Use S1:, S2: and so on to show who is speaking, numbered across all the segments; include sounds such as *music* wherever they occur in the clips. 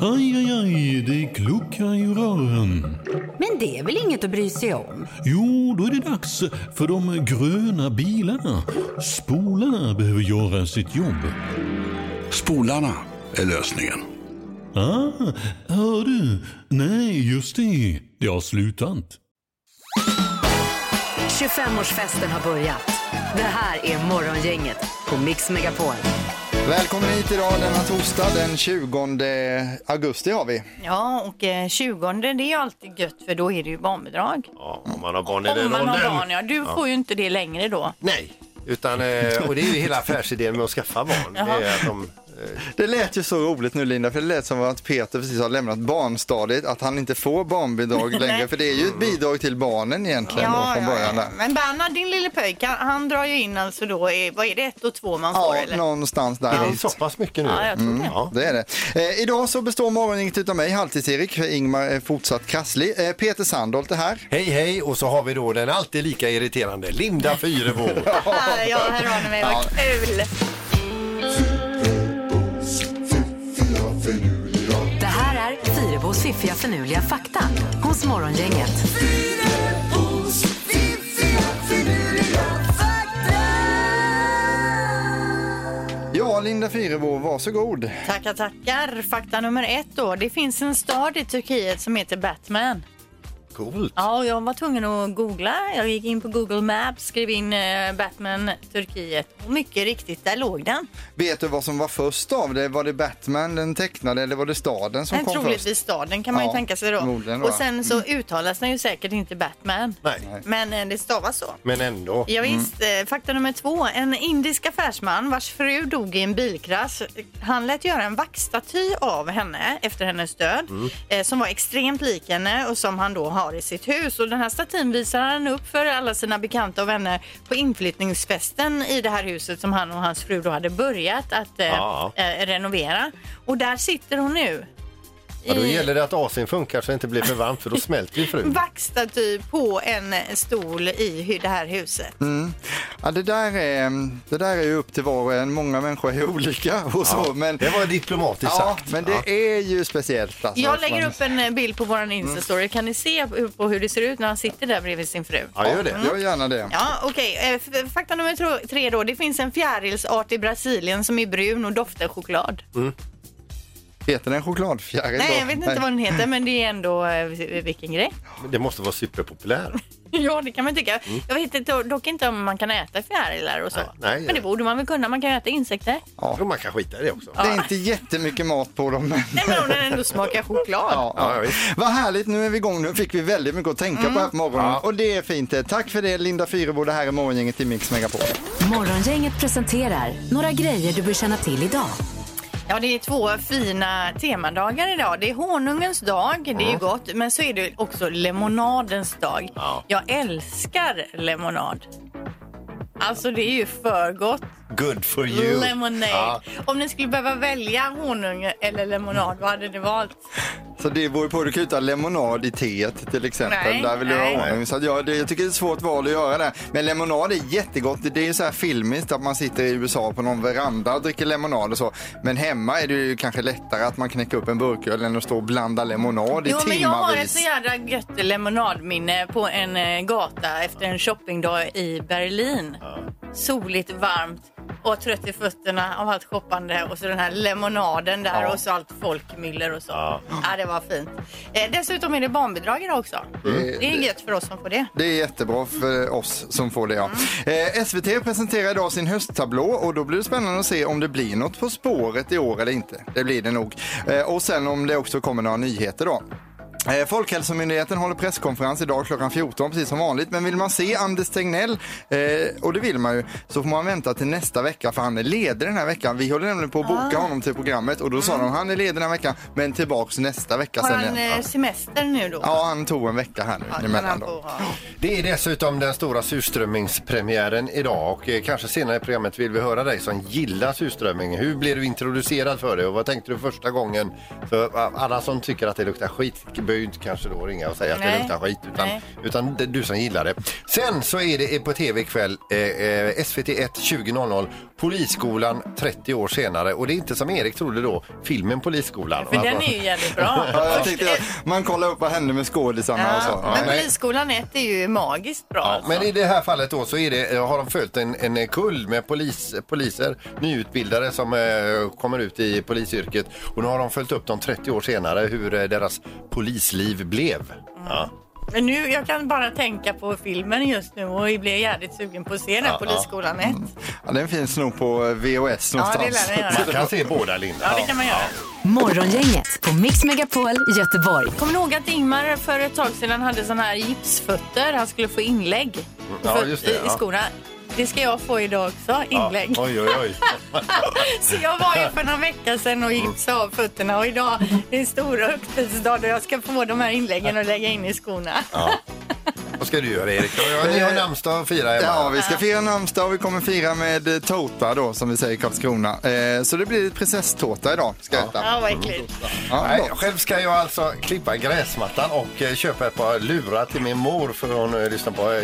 S1: Aj, aj, aj, det kluckar i rören.
S2: Men det är väl inget att bry sig om?
S1: Jo, då är det dags för de gröna bilarna. Spolarna behöver göra sitt jobb.
S3: Spolarna är lösningen.
S1: Ah, hör du? Nej, just det. Det har slutat.
S4: 25-årsfesten har börjat. Det här är Morgongänget på Mix Megapol.
S5: Välkommen hit idag denna torsdag den 20 augusti har vi.
S6: Ja, och eh, 20 det är ju alltid gött för då är det ju barnbidrag.
S7: Ja, om man har barn i den
S6: Om man har
S7: åldern.
S6: barn, ja. Du får ju inte det längre då.
S7: Nej, utan, *laughs* eh, och det är ju hela affärsidén med att
S6: *laughs*
S7: skaffa barn. Det är att de, eh,
S5: Det lät ju så roligt nu Linda, för det lät som att Peter precis har lämnat barnstadiet, att han inte får *laughs* barnbidrag längre, för det är ju ett bidrag till barnen egentligen då, från början. där.
S6: Men Bernhard, din lille pöjk, han, han drar ju in alltså då, eh, vad är det, ett och två man får
S5: Ja,
S6: eller?
S5: någonstans där.
S7: det är så pass mycket nu. Mm,
S6: Ja, jag tror det.
S7: Ja.
S5: Det är det. Eh, idag så består morgoninget utav mig, halvtids-Erik, för Ingmar är fortsatt krasslig. Eh, Peter Sandholt är här.
S7: Hej, hej, och så har vi då den alltid lika irriterande Linda Fyrebo.
S6: Ah, *laughs* ja, här har ni mig, vad kul!
S4: Det här är Fyrebos fiffiga förnuliga fakta hos Morgongänget.
S5: Ja, Linda Fyrebo, varsågod.
S6: Tackar, tackar. Fakta nummer ett då. Det finns en stad i Turkiet som heter Batman.
S7: Coolt.
S6: Ja, och jag var tvungen att googla. Jag gick in på Google Maps, skrev in eh, Batman Turkiet och mycket riktigt, där låg den.
S5: Vet du vad som var först av det? Var det Batman den tecknade eller var det staden som
S6: Men
S5: kom först?
S6: troligtvis staden kan man
S5: Ja,
S6: ju tänka sig
S5: förmodligen, Mm.
S6: då.
S5: va?
S6: Och sen så uttalas den ju säkert inte Batman.
S7: Nej,
S6: Men eh, det stavas så.
S7: men ändå.
S6: Ja,
S5: Mm.
S6: visst, eh, fakta nummer två. En indisk affärsman vars fru dog i en bilkrasch. Han lät göra en vaxstaty av henne efter hennes död
S5: Mm.
S6: eh, som var extremt lik henne och som han då har i sitt hus. Och den här statyn visar han upp för alla sina bekanta och vänner på inflyttningsfesten i det här huset som han och hans fru då hade börjat att eh,
S7: Ja.
S6: eh, renovera. Och där sitter hon nu.
S7: Ja, då
S6: i-
S7: gäller det att AC'n funkar så det inte blir för varmt för då smälter
S6: *laughs*
S7: ju frun.
S6: vaxstaty typ på en stol i hu- det här huset.
S5: Ja, det, där är, mm, det där är ju upp till var och en. Många människor är *laughs* olika och så.
S6: Oh,
S5: men,
S7: Det var diplomatiskt
S5: ja,
S7: sagt.
S5: men det är ju speciellt. Alltså,
S6: Jag
S5: att man-
S6: lägger upp en eh, bild på vår Insta-story. Kan ni se på- på hur det ser ut när han sitter där bredvid sin fru?
S7: Ja, gör det.
S5: Gör gärna det.
S6: Mm. Ja, okej. Eh, f- Fakta nummer tro- tre då. Det finns en fjärilsart i Brasilien som är brun och doftar choklad.
S5: Heter den chokladfjäril? då?
S6: Nej, jag vet inte vad den heter, men det är ändå eh, vilken grej. *laughs*
S7: Det måste vara superpopulär.
S6: Ja, det kan man tycka. Jag vet inte, dock inte om man kan äta fjärilar och så.
S7: Nej, nej.
S6: men det borde man väl kunna. Man kan äta insekter.
S7: Jag tror man kan skita i det också.
S5: Det är inte jättemycket mat på dem. Men...
S6: Nej, men om den ändå smakar choklad.
S5: Ja,
S7: Ja,
S5: ja.
S7: visst.
S5: Vad härligt, nu är vi igång. Nu fick vi väldigt mycket att tänka
S6: Mm.
S5: på här på morgonen. Och det är fint. det. Tack för det Linda Fyrebo, det här är Morgongänget i Mix Megapol.
S4: Morgongänget presenterar några grejer du bör känna till idag.
S6: Ja, det är två fina temadagar idag. Det är honungens dag, det är ju gott, men så är det också lemonadens dag.
S7: Ja.
S6: Jag älskar lemonad. Alltså det är ju för gott.
S7: Good for you.
S6: Lemonade.
S7: Ja.
S6: Om ni skulle behöva välja honung eller lemonad, vad hade ni valt?
S5: Så det beror på, du kan ju inte ha lemonad i teet till exempel.
S6: Nej,
S5: Där vill du
S6: nej.
S5: ha honung. Så att jag, det, jag tycker det är ett svårt val att göra det. Men lemonad är jättegott. Det, det är ju så här filmiskt att man sitter i USA på någon veranda och dricker lemonad och så. Men hemma är det ju kanske lättare att man knäcker upp en burköl än att stå och blanda lemonad i
S6: Jo, men jag har ett
S5: timmavis.
S6: så jädra gött lemonadminne på en eh, gata efter en shoppingdag i Berlin. Soligt, varmt och trött i fötterna av allt shoppande och så den här lemonaden där och så allt folkmyller och så. Ja. det var fint. Eh, dessutom är det barnbidrag idag också. Det är gött för oss som får det.
S5: Det är jättebra för oss som får det. Ja. Eh, SVT presenterar idag sin hösttablå och då blir det spännande att se om det blir något På spåret i år eller inte. Det blir det nog. Eh, och sen om det också kommer några nyheter då. Eh, Folkhälsomyndigheten håller presskonferens idag klockan 14 precis som vanligt. Men vill man se Anders Tegnell, eh, och det vill man ju, så får man vänta till nästa vecka för han är ledig den här veckan. Vi håller nämligen på att boka
S6: Ah.
S5: honom till programmet och då sa de han är ledig den här veckan men tillbaks nästa vecka
S6: Mm. Har
S5: sen
S6: han
S5: igen.
S6: eh, semester nu då?
S5: Ja, han tog en vecka här nu
S6: Ja, kan
S5: emellan
S6: han
S5: då.
S6: få ha.
S7: Det är dessutom den stora surströmmingspremiären idag och eh, kanske senare i programmet vill vi höra dig som gillar surströmming. Hur blev du introducerad för det och vad tänkte du första gången? För eh, alla som tycker att det luktar skit behöver ju inte kanske då ringa och säga att det
S6: Nej.
S7: luktar skit utan,
S6: Nej.
S7: utan det- du som gillar det. Sen så är det på tv ikväll eh, eh, SVT 1 20.00 Polisskolan 30 år senare. Och det är inte som Erik trodde då, filmen Polisskolan.
S6: För den är ju jävligt bra.
S5: Ja, jag
S6: Först
S5: tänkte
S6: ett-
S5: att man kollar upp vad hände med skådisarna och så.
S6: ja,
S5: Ja.
S6: men
S7: nej.
S6: Polisskolan 1 är ju magiskt bra.
S7: Ja,
S6: alltså.
S7: men i det här fallet då så är det, eh, har de följt en, en kull med polis, poliser, nyutbildade som eh, kommer ut i polisyrket. Och nu har de följt upp dem 30 år senare hur eh, deras polisliv blev.
S6: Mm.
S7: Ja.
S6: Men nu, jag kan bara tänka på filmen just nu och jag blir jävligt sugen på att se den här
S7: Ja, Mm.
S6: Polisskolan 1.
S5: Ja, det är en fin snor på eh, VHS
S6: Ja, det
S5: någonstans.
S6: lär den
S7: Man
S6: göra.
S7: kan se båda Linda.
S6: Ja, det kan man göra.
S4: Morgongänget på Mix Megapol Göteborg.
S6: Kommer ni ihåg att Ingmar för ett tag sedan hade såna här gipsfötter? Han skulle få inlägg
S7: Mm, ja,
S6: för-
S7: just det,
S6: i,
S7: ja.
S6: i skorna. Det ska jag få idag också, inlägg.
S7: Ja. Oj, oj, oj.
S6: Så *laughs* jag var ju för någon vecka sedan
S7: Mm.
S6: och gipsade av fötterna och idag det är en stor högtidsdag då jag ska få de här inläggen och lägga in i skorna.
S7: Vad ska du göra Erik? Ja, Ni har namnsdag att fira hemma.
S5: Ja, vi ska fira namnsdag och vi kommer fira med eh, tårta då som vi säger i Karlskrona. Eh, så det blir prinsesstårta idag. Ska jag äta.
S6: Ja, vad äckligt.
S5: Ja,
S7: Nej,
S5: gott.
S7: själv ska jag alltså klippa gräsmattan och eh, köpa ett par lurar till min mor för hon eh, lyssnar på eh,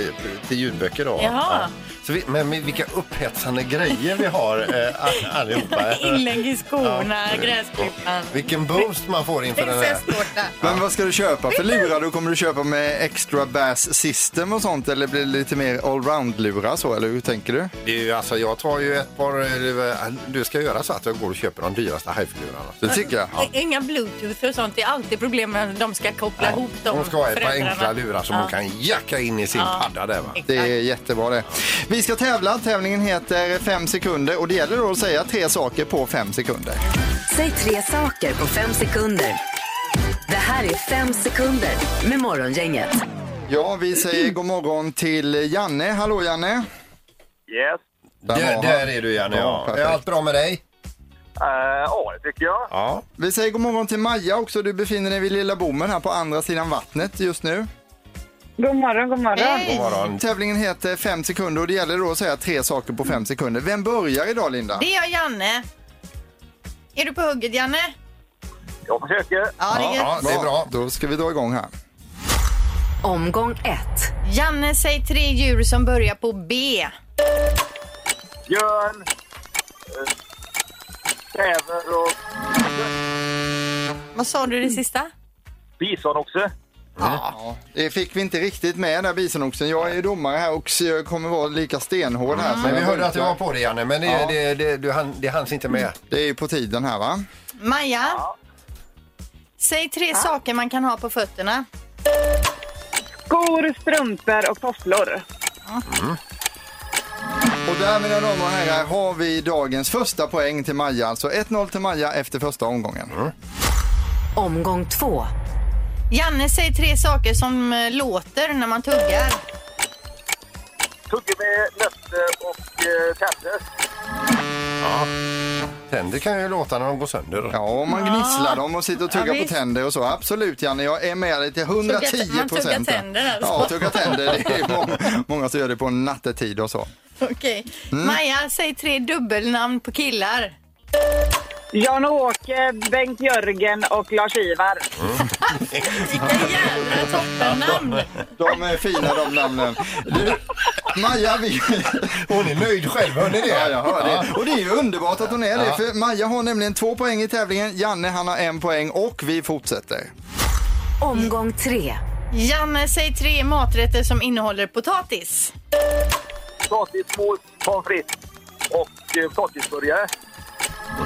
S7: till ljudböcker. Då.
S6: Jaha.
S7: Så vi, men med vilka upphetsande grejer vi har eh, all-
S6: *laughs*
S7: allihopa.
S6: Inlägg i skorna, gräsklippan.
S7: Vilken boost man får inför den här.
S6: Prinsesstårta.
S5: Men vad ska du köpa för lurar? Då kommer du köpa med extra bass system och sånt eller blir det lite mer allround-lurar så eller hur tänker du?
S7: Det är ju, alltså, jag tar ju ett par... eh, Du ska göra så att jag går och köper de dyraste hifi-lurarna.
S5: Det tycker jag.
S6: I- *laughs* Inga bluetooth och sånt. Det är alltid problem när de ska koppla ihop dem.
S7: Hon ska ha ett par
S6: föräldrarna.
S7: enkla lurar som hon kan jacka in i sin padda där va.
S5: Det är jättebra det. Vi ska tävla. Tävlingen heter 5 sekunder och det gäller då att säga tre saker på 5 sekunder.
S4: Säg tre saker på fem sekunder. Det här är fem sekunder med Morgongänget.
S5: Ja, vi säger god morgon till Janne. Hallå Janne!
S8: Yes.
S7: Där, där är du Janne
S5: Ja,
S7: ja. Är
S5: perfekt.
S7: allt bra med dig?
S8: Eh, ja, det tycker jag.
S7: Ja.
S5: Vi säger god morgon till Maja också. Du befinner dig vid Lilla Bommen här på andra sidan vattnet just nu.
S9: God morgon, god morgon.
S7: God morgon.
S5: Tävlingen heter 5 sekunder och det gäller då att säga tre saker på 5 sekunder. Vem börjar idag Linda?
S6: Det är jag, Janne. Är du på hugget, Janne?
S8: Jag försöker.
S6: Ja, det är gött.
S7: Ja, det är bra.
S5: Då ska vi dra igång här.
S4: Omgång ett.
S6: Janne, säg tre djur som börjar på B.
S8: Björn, eh, bäver och
S6: Vad sa du det sista?
S8: bison också.
S5: Ja, det fick vi inte riktigt med där bisonoxen. Jag är domare här och jag kommer vara lika stenhård här. som
S7: Mm. Men vi
S5: jag
S7: hörde att du
S5: brukar.
S7: var på det Janne, men det,
S5: Ja.
S7: det, det, du hann, det hanns inte med.
S5: Det är ju på tiden här va?
S6: Maja? Säg tre saker man kan ha på fötterna.
S9: Skor, strumpor och tofflor.
S5: Och där mina damer och herrar har vi dagens första poäng till Maja. Alltså 1-0 till Maja efter första omgången.
S4: Omgång två.
S6: Janne, säg tre saker som eh, låter när man tuggar.
S8: Tugge med nötter och eh, tänder.
S7: Tänder kan ju låta när de går sönder.
S5: Ja, och man gnisslar dem och sitter och tuggar
S6: Ja,
S5: på
S6: visst.
S5: tänder och så. Absolut Janne, jag är med dig till 110
S6: man tuggar
S5: procent.
S6: tänder alltså.
S5: Ja, tugga tänder. Det är många, många som gör det på nattetid och så.
S6: Okej. Maja, säg tre dubbelnamn på killar.
S9: Jan-Åke, Bengt-Jörgen och Lars-Ivar.
S6: Vilka jävla toppennamn!
S5: De är fina de namnen. Du, Maja, vi...
S7: Hon är nöjd själv, hör ni det?
S5: Ja, jag hör det. Och det är ju underbart att hon är det. För Maja har nämligen två poäng i tävlingen, Janne han har en poäng och vi fortsätter.
S4: Omgång tre.
S6: Janne, säg tre maträtter som innehåller potatis.
S8: Potatismos, pommes frites och eh, potatisburgare.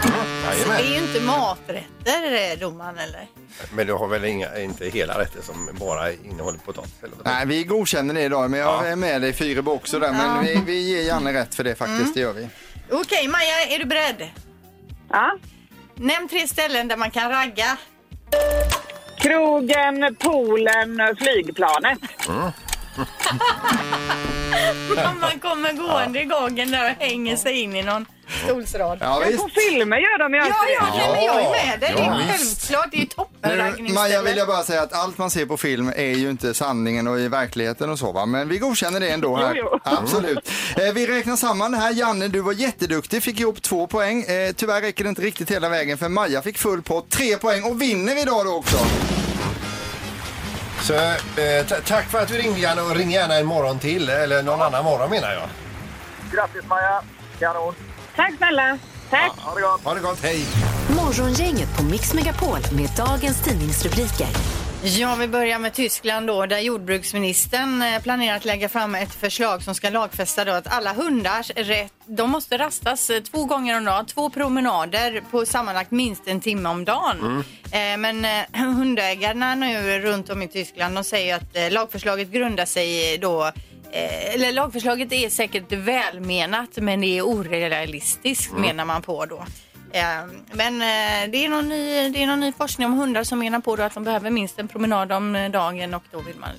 S6: Det
S7: Jajamän.
S6: är ju inte maträtter, eh, domaren, eller?
S7: Men du har väl inga, inte hela rätter som bara innehåller potatis? Eller?
S5: Nej, vi godkänner det idag, men jag är med dig Fyrebo också där. Men vi, vi ger Janne rätt för det faktiskt,
S6: Mm.
S5: det gör vi.
S6: Okej, Maja, är du beredd?
S9: Ja.
S6: Nämn tre ställen där man kan ragga.
S9: Krogen, poolen, flygplanet.
S6: Man kommer gående i gången där och hänger sig in i någon stolsrad.
S5: Ja,
S9: Men
S5: visst.
S9: på filmer gör de ju
S6: Ja,
S9: alltid
S6: ja,
S9: det.
S6: nej, men jag är med dig. Det
S7: Ja,
S6: är
S7: visst.
S6: självklart. Det är ju
S5: Nu, Maja vill jag
S6: toppenraggningsställe.
S5: bara säga att allt man ser på film är ju inte sanningen och i verkligheten och så va. Men vi godkänner det ändå här.
S9: Jo, jo.
S5: *laughs* Absolut. Eh, vi räknar samman det här. Janne, du var jätteduktig, fick ihop två poäng. Eh, tyvärr räcker det inte riktigt hela vägen för Maja fick full på tre poäng och vinner idag då också.
S7: Så, eh, ta- tack för att du ringde Janne och ring gärna en morgon till, eller någon annan morgon menar jag.
S8: Grattis Maja! Kanon!
S9: Tack snälla. Tack.
S8: Ha det gott!
S7: Ha det gott, hej!
S4: Morgongänget på Mix Megapol med dagens tidningsrubriker.
S6: Ja, vi börjar med Tyskland då, där jordbruksministern eh, planerar att lägga fram ett förslag som ska lagfästa då att alla hundars rätt, de måste rastas eh, två gånger om dagen, två promenader på sammanlagt minst en timme om dagen. Eh, Men eh, *clears throat* hundägarna nu runt om i Tyskland, de säger att eh, lagförslaget grundar sig då eh, eller lagförslaget är säkert välmenat men det är orealistiskt menar man på då. Eh, Men eh, det är, någon ny, det är någon ny forskning om hundar som menar på då att de behöver minst en promenad om eh, dagen och då vill man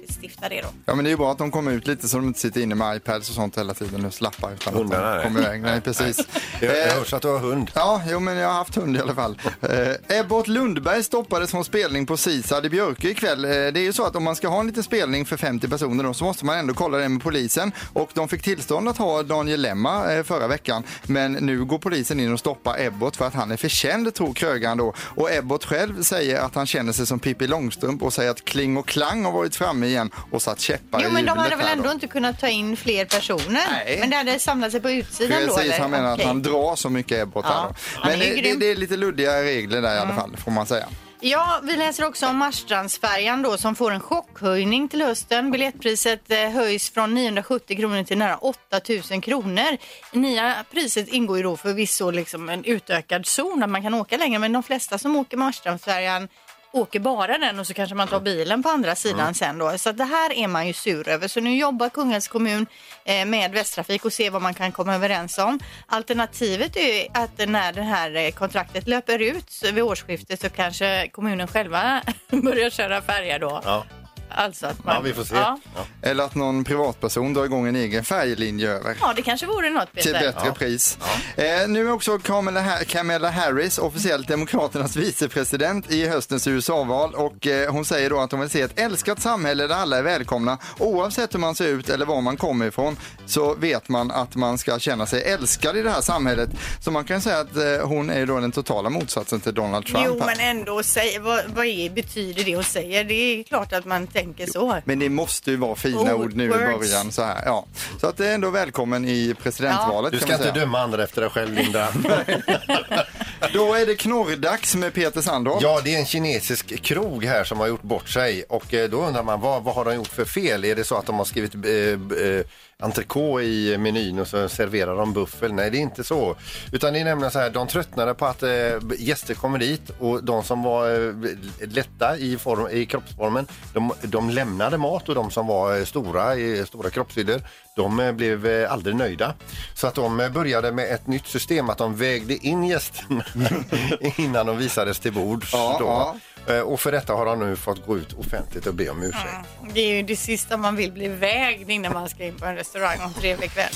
S6: lagstifta det då.
S5: Ja, men det är ju bra att de kommer ut lite så de inte sitter inne med iPads och sånt hela tiden och slappar. Utan att
S7: Hundarna,
S5: de
S7: nej. *laughs*
S5: kommer iväg. Nej, precis.
S7: Jag, jag
S5: Eh,
S7: hörs att du har hund.
S5: Ja, jo, men jag har haft hund i alla fall. Eh, Ebbot Lundberg stoppades från spelning på Sisad i Björke ikväll. Eh, det är ju så att om man ska ha en liten spelning för 50 personer då, så måste man ändå kolla det med polisen. Och de fick tillstånd att ha Daniel Lemma eh, förra veckan. Men nu går polisen in och stoppar Ebbot för att han är för känd, tror krögaren då. Och Ebbot själv säger att han känner sig som Pippi Långstrump och säger att Kling och Klang har varit framme igen och satt käppar
S6: Jo
S5: i
S6: men de
S5: hjulet
S6: hade väl
S5: här då.
S6: ändå inte kunnat ta in fler personer?
S5: Nej.
S6: Men det hade samlat sig på utsidan då
S5: Precis,
S6: eller?
S5: han menar
S6: Okej.
S5: att han drar så mycket ebbot
S6: Ja.
S5: här. då.
S6: Han är Mm.
S5: Men
S6: ju
S5: det, det,
S6: grym.
S5: det är lite luddiga regler där i alla fall, får man säga.
S6: Ja, vi läser också om Marstrandsfärjan då som får en chockhöjning till hösten. Biljettpriset eh, höjs från 970 kronor till nära 8000 kronor. I Nya priset ingår ju då förvisso liksom en utökad zon där man kan åka längre men de flesta som åker Marstrandsfärjan åker bara den och så kanske man tar bilen på andra sidan sen då. Så att det här är man ju sur över. Så nu jobbar Kungälvs kommun eh, med Västtrafik och ser vad man kan komma överens om. Alternativet är ju att när det här eh, kontraktet löper ut så vid årsskiftet så kanske kommunen själva *laughs* börjar köra färja då.
S7: Ja.
S6: Alltså att man,
S7: Ja, vi får se.
S6: Ja,
S5: Eller att någon privatperson drar igång en egen färglinje över.
S6: ja det kanske vore något
S5: Till
S6: Peter.
S5: bättre pris. Eh, nu är också Kamala, Ha- Kamala Harris officiellt Demokraternas vicepresident i höstens USA-val och eh, hon säger då att hon vill se ett älskat samhälle där alla är välkomna. Oavsett hur man ser ut eller var man kommer ifrån så vet man att man ska känna sig älskad i det här samhället. Så man kan säga att eh, hon är ju då den totala motsatsen till Donald Trump.
S6: Jo
S5: här.
S6: men ändå, säg, vad, vad är, betyder det hon säger? Det är klart att man tänker så.
S5: Men det måste ju vara fina
S6: Oh,
S5: ord nu i
S6: words.
S5: början. Så, här. Ja. så att det är ändå välkommen i presidentvalet.
S7: Du
S5: kan
S7: ska
S5: man
S7: inte
S5: säga.
S7: döma andra efter dig själv, Linda.
S5: *laughs* Då är det knorrdags med Peter Sandholt.
S7: Ja, det är en kinesisk krog här som har gjort bort sig och eh, då undrar man vad, vad har de gjort för fel? Är det så att de har skrivit eh, b- eh, entrecote i menyn och så serverar de buffel? Nej, det är inte så. Utan det är nämligen så här, de tröttnade på att eh, b- gäster kommer dit och de som var eh, b- lätta i, form, i kroppsformen, de, de lämnade mat och de som var eh, stora i stora kroppshydder, de eh, blev eh, aldrig nöjda. Så att de eh, började med ett nytt system, att de vägde in gästerna *laughs* innan de visades till bords.
S5: Ja,
S7: då.
S5: ja.
S7: Eh, Och för detta har han nu fått gå ut offentligt och be om ursäkt.
S6: Det är ju det sista man vill bli vägd innan man ska in på en restaurang om trevlig kväll.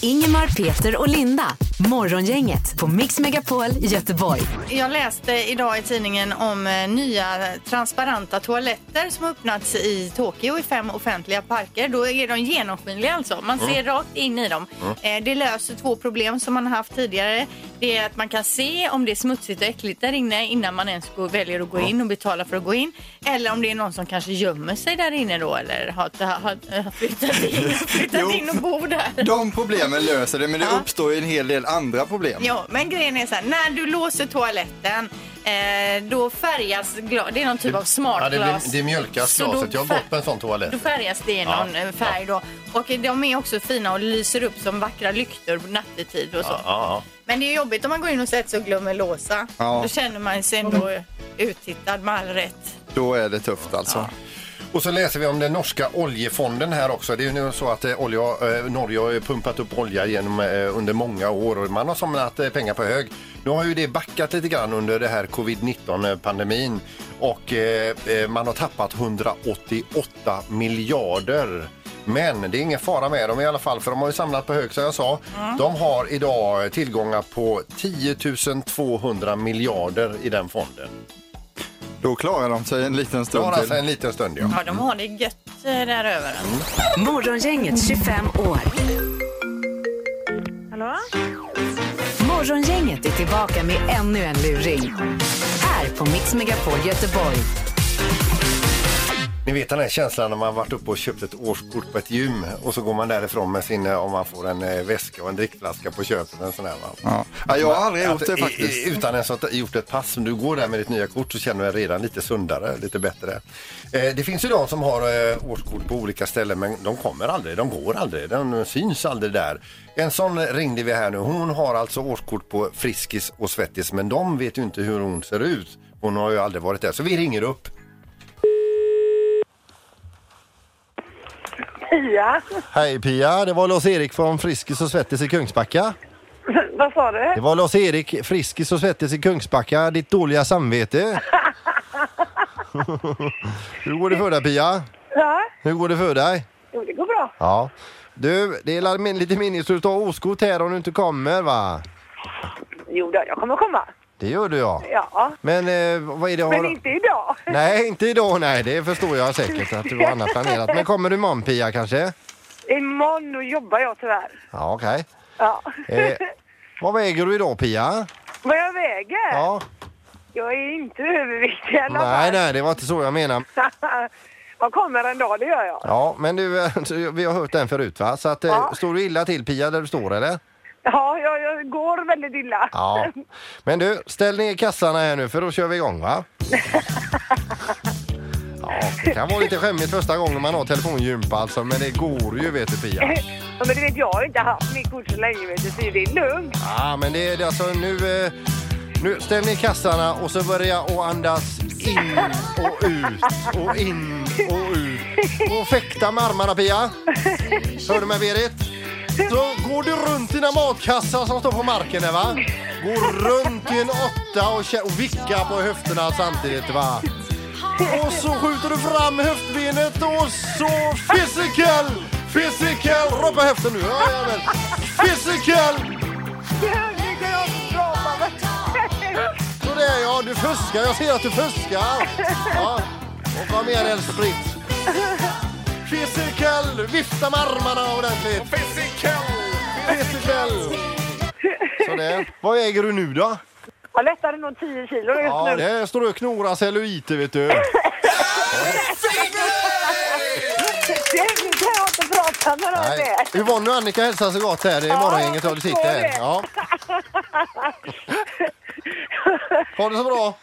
S4: Ingemar, Peter och Linda. Morgongänget på Mix Megapol Göteborg.
S6: Jag läste idag i tidningen om eh, nya transparenta toaletter som har öppnats i Tokyo i fem offentliga parker. Då är de genomskinliga alltså. Man ser rakt in i dem. Eh, Det löser två problem som man har haft tidigare. Det är att man kan se om det är smutsigt och äckligt där inne innan man ens går, väljer att gå in och betala för att gå in. Eller om det är någon som kanske gömmer sig där inne då eller har, har, har har flyttat, in,
S5: Jo.
S6: flyttat in och bor där.
S5: De problemen löser det, men det
S6: Ja.
S5: uppstår ju en hel del andra problem.
S6: Ja, men grejen är så här, när du låser toaletten eh, då färgas glas, det är någon typ av
S7: Ja,
S6: smart
S7: det,
S6: glas.
S7: blir, det mjölkas
S6: Så då
S7: glaset. Jag har
S6: fär-
S7: gått på en sån toalett.
S6: Då färgas det i
S7: Ja,
S6: någon eh, färg då. Och eh, de är också fina och lyser upp som vackra lyktor nattetid och så.
S7: Ja, ja.
S6: Men det är jobbigt om man går in och sätter sig och glömmer låsa.
S5: Ja.
S6: Då känner man sig ändå uttittad med all rätt.
S5: Då är det tufft alltså.
S7: Och så läser vi om den norska oljefonden här också. Det är ju nu så att eh, olja, eh, Norge har ju pumpat upp olja genom, eh, under många år och man har samlat eh, pengar på hög. Nu har ju det backat lite grann under det här covid-19-pandemin och eh, eh, man har tappat 188 miljarder. Men det är ingen fara med dem i alla fall för de har ju samlat på hög som jag sa. De har idag tillgångar på 10 200 miljarder i den fonden.
S5: Då klarar de sig en liten
S7: Det har
S5: stund
S7: alltså
S5: till.
S7: en liten stund ja.
S6: Ja, de har det gött eh, där över.
S4: Morgongänget 25 år.
S9: Hallå?
S4: Morgongänget är tillbaka med ännu en luring. Här på Mix Megapol Göteborg.
S7: Ni vet den här känslan när man varit uppe och köpt ett årskort på ett gym och så går man därifrån med sin, eh, om man får en eh, väska och en drickflaska på köpet. En sån här, va?
S5: Ja. Ja, jag har aldrig gjort
S7: Att,
S5: det
S7: i-
S5: faktiskt.
S7: i- Utan ens att ha gjort ett pass. Om du går där med ditt nya kort så känner du dig redan lite sundare, lite bättre. Eh, det finns ju de som har eh, årskort på olika ställen men de kommer aldrig, de går aldrig, de syns aldrig där. En sån ringde vi här nu. Hon har alltså årskort på Friskis och Svettis men de vet ju inte hur hon ser ut. Hon har ju aldrig varit där så vi ringer upp.
S9: Pia,
S7: Hej Pia, det var Lars-Erik från Friskis och Svettis i Kungsbacka.
S9: vad sa du?
S7: Det var Lars-Erik, Friskis och Svettis i Kungsbacka, ditt
S9: *laughs*
S7: dåliga samvete. Hur går det för dig Pia?
S9: Ja,
S7: Hur går det för dig?
S9: jo, det går bra.
S7: Ja. Du, det är la- min- lite meningsfullt att ha oskot här om du inte kommer va?
S9: Jo då, jag kommer komma.
S7: Det gör du ja.
S9: Ja,
S7: Men eh, vad är det? Har...
S9: men
S7: du-
S9: inte idag.
S7: Nej, inte idag nej. Det förstår jag säkert att du har annat planerat. Men kommer du imorgon Pia kanske?
S9: Imorgon då jobbar jag tyvärr.
S7: Ja, okej.
S9: Ja.
S7: Eh, vad väger du idag Pia?
S9: Vad jag väger?
S7: Ja.
S9: Jag är inte överviktig i alla
S7: Nej,
S9: fall.
S7: nej, det var inte så jag menade.
S9: *laughs* jag kommer en dag, det gör jag.
S7: Ja, men du, eh, vi har hört den förut va? Så att, eh,
S9: Ja.
S7: står du illa till Pia där du står eller?
S9: Ja, jag, jag går väldigt illa.
S7: Ja. Men du, ställ ner kassarna här nu för då kör vi igång va? Ja, det kan vara lite skämmigt första gången man har telefongympa alltså, men det går ju vet du Pia.
S9: Ja, men du vet, jag har ju inte haft mitt kort så länge, vet du, så det är lugnt.
S7: Ja, men det är det, alltså nu... eh, Nu ställ ner kassarna och så börja och andas in och ut och in och ut. Och fäkta med armarna Pia. Hör du mig Berit? Så går du runt dina matkassar som står på marken där va? Går runt i en åtta och, kä- och vicka på höfterna samtidigt va? Och så skjuter du fram höftbenet och så physical! Physical! Ropa höften nu! Ja, jajamän. Physical! Sådär ja, du fuskar. Jag ser att du fuskar. Ja. Och kom igen Elsbritt. Physical! Vifta med armarna ordentligt. Physical! Physical! Sådär. Vad väger du nu då?
S9: Jag lättade nog 10 kilo just
S7: Ja,
S9: nu.
S7: det står du och knorar celluliter vet du.
S9: *laughs* Det kan jag inte prata med någon
S7: Nej.
S9: med.
S7: Yvonne och Annika hälsar så gott här. Det är
S9: Ja,
S7: morgongänget och du sitter
S9: jag
S7: här.
S9: förstår
S7: Ja. Ha det så bra.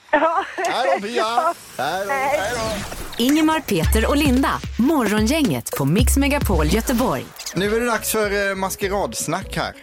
S7: Hej då Pia. Hej då.
S4: Ingemar, Peter och Linda. Morgongänget på Mix Megapol Göteborg.
S5: Nu är det dags för eh, maskeradsnack här.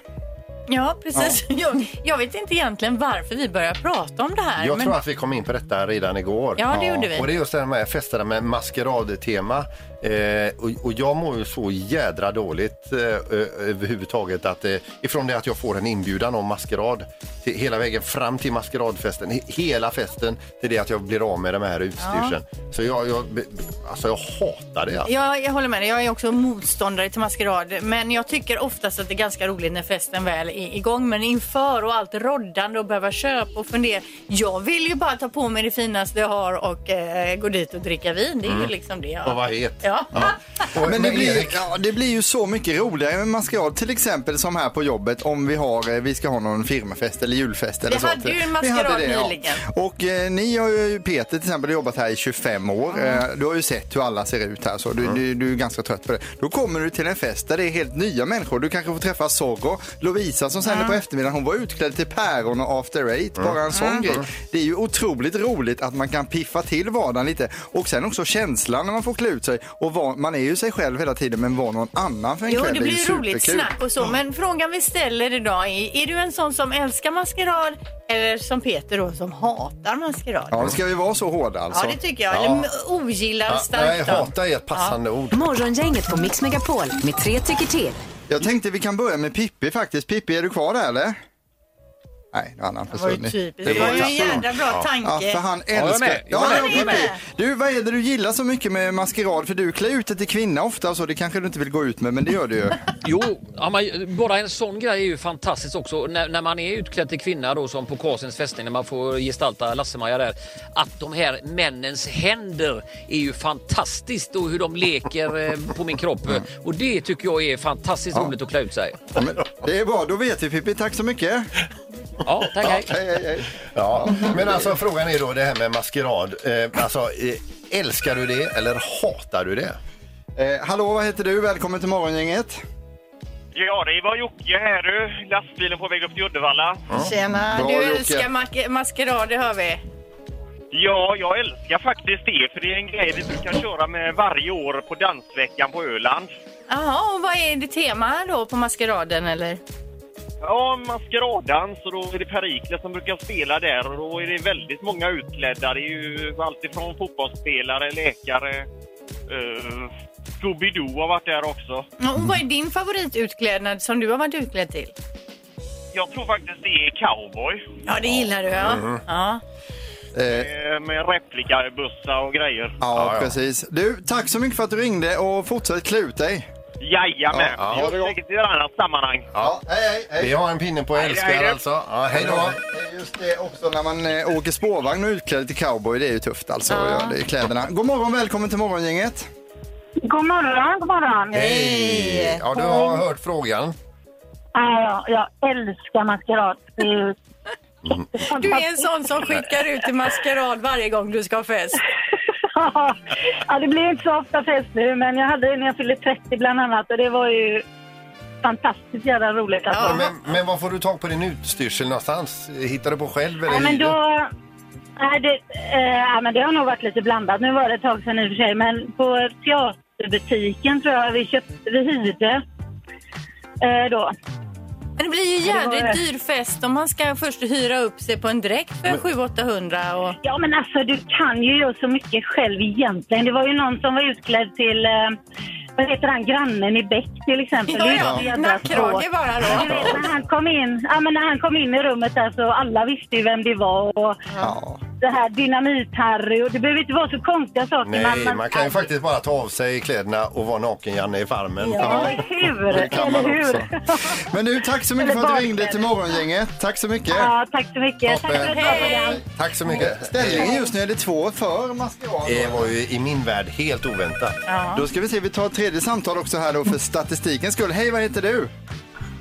S6: Ja, precis. *laughs* Jag, jag vet inte egentligen varför vi börjar prata om det här.
S7: Jag
S6: men-
S7: tror att vi kom in på detta redan igår.
S6: Ja, det gjorde vi.
S7: Och det är just det här med festerna med maskeradtema. Eh, och, och jag mår ju så jädra dåligt eh, ö- överhuvudtaget att eh, ifrån det att jag får en inbjudan om maskerad till, hela vägen fram till maskeradfesten, he- hela festen till det att jag blir av med de här utstyrseln. Så jag, jag, be- alltså jag hatar det. Alltså.
S6: Ja, jag håller med dig. Jag är också motståndare till maskerad. Men jag tycker oftast att det är ganska roligt när festen väl är igång. Men inför och allt roddande och behöva köpa och fundera. Jag vill ju bara ta på mig det finaste jag har och eh, gå dit och dricka vin. Det är ju liksom det jag...
S7: Och vad het.
S6: Ja. *laughs*
S7: Och,
S5: Men det blir,
S7: Erik,
S5: ja, det blir ju så mycket roligare med maskerad, till exempel som här på jobbet om vi, har, eh, vi ska ha någon firmafest eller julfest eller
S6: Vi
S5: så.
S6: hade ju en
S5: Vi
S6: maskerad
S5: hade det, ja.
S6: nyligen.
S5: Och eh, ni har ju, Peter till exempel, jobbat här i 25 år. Eh, du har ju sett hur alla ser ut här så du, du, du är ganska trött på det. Då kommer du till en fest där det är helt nya människor. Du kanske får träffa Zorro, Lovisa som sänder på eftermiddagen. Hon var utklädd till päron och after eight. Bara en sån grej. Det är ju otroligt roligt att man kan piffa till vardagen lite och sen också känslan när man får klä ut sig. Och vara- man är ju sig själv hela tiden men var någon annan för en
S6: Jo,
S5: kväll
S6: det
S5: är ju
S6: blir ju roligt
S5: superkul.
S6: snack och så. Men frågan vi ställer idag är, är du en sån som älskar maskerad eller som Peter då som hatar maskerad?
S5: Ja, ska vi vara så hårda alltså?
S6: Ja, det tycker jag. Eller ogillar
S7: ja, nej,
S6: starkt. då.
S7: hata är ett passande ord.
S4: Morgongänget på Mix Megapol med tre tycker till.
S5: Jag tänkte vi kan börja med Pippi faktiskt. Pippi, är du kvar där eller? Nej, nu har han
S6: Det var ju
S5: försvunnit.
S6: typiskt. Det
S5: var
S6: var ju en
S5: katten.
S6: jädra bra
S5: Ja,
S6: tanke.
S5: för han
S10: jag är
S5: älskar...
S10: med. Jag är
S5: ja,
S6: med.
S5: Pippi.
S6: Jag är med.
S5: Du, vad är det du gillar så mycket med maskerad? För du klär ut dig till kvinna ofta och så, det kanske du inte vill gå ut med, men det gör du ju.
S10: Jo, ja, man, bara en sån grej är ju fantastiskt också. När, när man är utklädd till kvinna då som på Karlsens fästning när man får gestalta Lasse-Maja där. Att de här männens händer är ju fantastiskt och hur de leker eh, på min kropp. Och det tycker jag är fantastiskt roligt att klä ut sig.
S5: Ja, men Det är bra, då vet vi Pippi. Tack så mycket.
S10: Ja, tack, hej.
S5: Hej, hej, hej.
S7: Ja, men alltså frågan är då det här med maskerad. Eh, alltså, eh, älskar du det eller hatar du det?
S5: Eh, hallå, vad heter du? Välkommen till Morgongänget.
S8: Ja, det var Jocke här du. Lastbilen på väg upp till Uddevalla.
S6: Tjena,
S5: Bra,
S6: du
S5: Jocke.
S6: älskar mak- maskerad, det hör vi.
S8: Ja, jag älskar faktiskt det, för det är en grej vi brukar köra med varje år på dansveckan på Öland.
S6: Jaha, och vad är det tema då på maskeraden eller?
S8: Ja, maskeraddans och då är det Perikles som brukar spela där och då är det väldigt många utklädda. Det är ju alltifrån fotbollsspelare, läkare, uh, Scooby-Doo har varit där också.
S6: Och vad är din favoritutklädnad som du har varit utklädd till?
S8: Jag tror faktiskt det är cowboy
S6: Ja, det gillar du ja. ja.
S5: Eh,
S8: eh, med replikabussar och grejer.
S5: ja, precis. Du, tack så mycket för att du ringde och fortsätt klä ut dig.
S8: Jajamän!
S7: Ja,
S8: Vi
S7: ja.
S8: hörs säkert i ett annat sammanhang.
S5: Ja, hej, hej, hej.
S7: Vi har en pinne på
S8: Hej,
S7: älskar
S8: hej, hej.
S7: alltså. Ja, hej då.
S5: Ja, Just det också när man eh, åker spårvagn och är utklädd till cowboy, det är ju tufft alltså att göra det i kläderna. God morgon, välkommen till morgongänget.
S9: God morgon, god morgon.
S7: Hej! Ja, du har hört frågan.
S9: Ja, jag älskar maskerad. Det är
S7: Mm.
S9: ju-
S6: Du är en sån som skickar ut till maskerad varje gång du ska ha fest.
S9: *laughs* ja, det blir inte så ofta fest nu, men jag hade en när jag fyllde 30 bland annat och det var ju fantastiskt jävla roligt. Alltså.
S7: Ja, Men, men var får du tag på din utstyrsel någonstans? Hittar du på själv eller
S9: Ja, men
S7: hyr du?
S9: då... Nej, det, eh, ja, men det har nog varit lite blandat. Nu var det ett tag sedan i och för sig, men på teaterbutiken tror jag vi köpte, vi hyrde eh, då.
S6: Men det blir
S9: det
S6: ju
S9: var
S6: jädrigt
S9: det.
S6: dyr fest om man ska först hyra upp sig på en dräkt för 700-800 och...
S9: Ja, men alltså du kan ju göra så mycket själv egentligen. Det var ju någon som var utklädd till, eh, vad heter han, grannen i Bäck till exempel. Det är
S6: Ja,
S9: ju så
S6: ja,
S9: jävla svårt.
S6: nackkrage bara
S9: Du
S6: då.
S9: vet, när han, kom in, ja, men när han kom in i rummet där så alla visste ju vem det var. Och
S5: Ja.
S9: Det här dynamit-Harry och det behöver inte vara så konstiga saker.
S7: Nej, man kan ju faktiskt bara ta av sig kläderna och vara naken Janne i farmen.
S9: Ja, eller hur?
S5: Det kan man
S9: eller hur?
S5: också. Men du, tack så mycket för
S9: Eller
S5: att du
S9: barn.
S5: ringde till morgongänget. Tack så mycket.
S9: Ja, tack så mycket. Tack för ett bra program.
S7: Tack så mycket.
S5: Ställningen just nu är det två för maskerad.
S7: Det var ju i min värld helt oväntat.
S5: Eh, Då ska vi se, vi tar ett tredje samtal också här då för statistikens skull. Hej, vad heter du?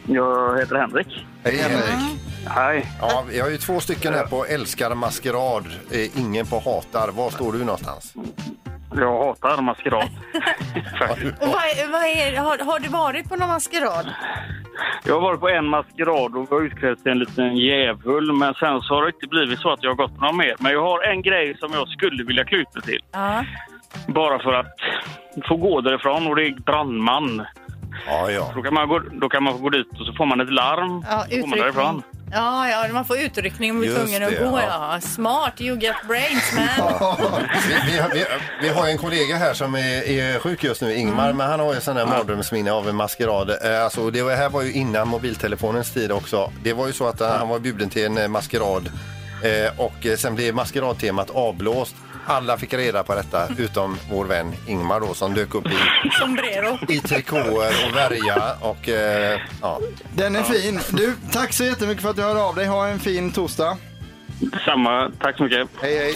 S8: Jag heter Henrik.
S5: Hej Henrik.
S8: Hej.
S7: Ja, vi har ju två stycken här på älskar maskerad, eh, ingen på hatar. Var står du någonstans?
S8: Jag hatar maskerad.
S6: Och vad, är- vad är, har, har du varit på någon maskerad?
S8: Jag har varit på en maskerad och var utklädd till en liten djävul. Men sen så har det inte blivit så att jag har gått på någon mer. Men jag har en grej som jag skulle vilja klä ut mig till.
S6: Ja.
S8: Bara för att få gå därifrån och det är brandman.
S7: Ja, ja.
S8: Då kan man gå, då kan man gå dit och så får man ett larm.
S6: Ja,
S8: så går man därifrån.
S6: utryckning. Ja, ja, man får utryckning om man är
S7: Just
S6: tvungen att
S7: det,
S6: gå.
S7: ja.
S6: Ja. Smart, you get brains man.
S7: Vi, vi, har- vi, vi har ju en kollega här som är, är sjuk just nu, Ingmar, men han har ju sån där mardrömsminne av en maskerad. Eh, Alltså, det var, här var ju innan mobiltelefonens tid också. Det var ju så att eh, han var bjuden till en eh, maskerad eh, och eh, sen blev maskeradtemat avblåst. Alla fick reda på detta utom vår vän Ingmar då som dök upp i,
S6: Sombrero.
S7: i trikåer och värja och eh, ja.
S5: Den är fin. Du, tack så jättemycket för att du hörde av dig. Ha en fin torsdag.
S8: Samma, tack så mycket.
S5: Hej, hej.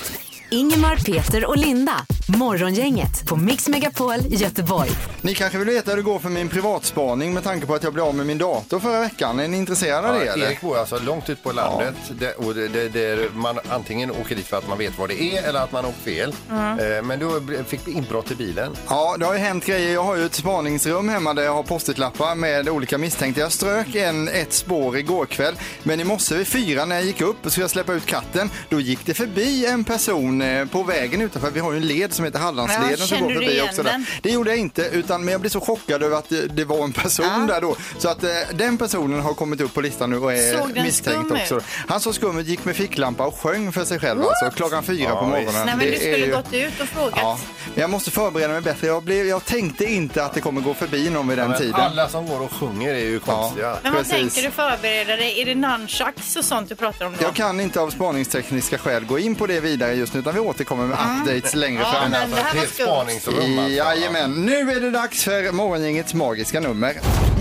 S4: Ingemar, Peter och Linda. Morgongänget på Mix Megapol Göteborg.
S5: Ni kanske vill veta hur det går för min privatspaning med tanke på att jag blev av med min dator förra veckan. Är ni intresserade av det?
S7: Ja,
S5: eller?
S7: Erik bor alltså långt ut på landet där, och det, det, där man antingen åker dit för att man vet vad det är eller att man har åkt fel. Eh, Men du fick inbrott i bilen.
S5: Ja, det har ju hänt grejer. Jag har ju ett spaningsrum hemma där jag har postitlappar med olika misstänkta. Jag strök en, ett spår igår kväll, men i morse vid fyra när jag gick upp och skulle jag släppa ut katten, då gick det förbi en person eh, på vägen utanför. Vi har ju en led som heter Hallandsleden
S6: Ja,
S5: som
S6: kände
S5: går
S6: du
S5: förbi
S6: igen
S5: också. Där.
S6: den?
S5: Det gjorde jag inte, utan, men jag blev så chockad över att det, det var en person där då. Så att eh, den personen har kommit upp på listan nu och är
S6: Såg den
S5: misstänkt
S6: skum
S5: också.
S6: ut?
S5: Han såg skum ut, gick med ficklampa och sjöng för sig själv alltså, klockan fyra på morgonen.
S6: Nej, men
S5: Det
S6: du skulle
S5: är ju-
S6: gått ut och frågat.
S5: Ja, men jag måste förbereda mig bättre. Jag, blev, jag tänkte inte att det kommer gå förbi någon vid den
S7: Men
S5: tiden.
S7: alla som går och sjunger är ju konstiga.
S6: Men vad
S5: precis.
S6: tänker du förbereda dig? Är det nunchucks och sånt du pratar om då?
S5: Jag kan inte av spaningstekniska skäl gå in på det vidare just nu utan vi återkommer med updates längre
S6: Ja,
S5: fram.
S6: men det här
S7: ett
S6: var
S7: alltså, helt
S6: skumt.
S7: spaningsrum alltså.
S5: Jajamän, nu är det dags för morgongängets magiska nummer.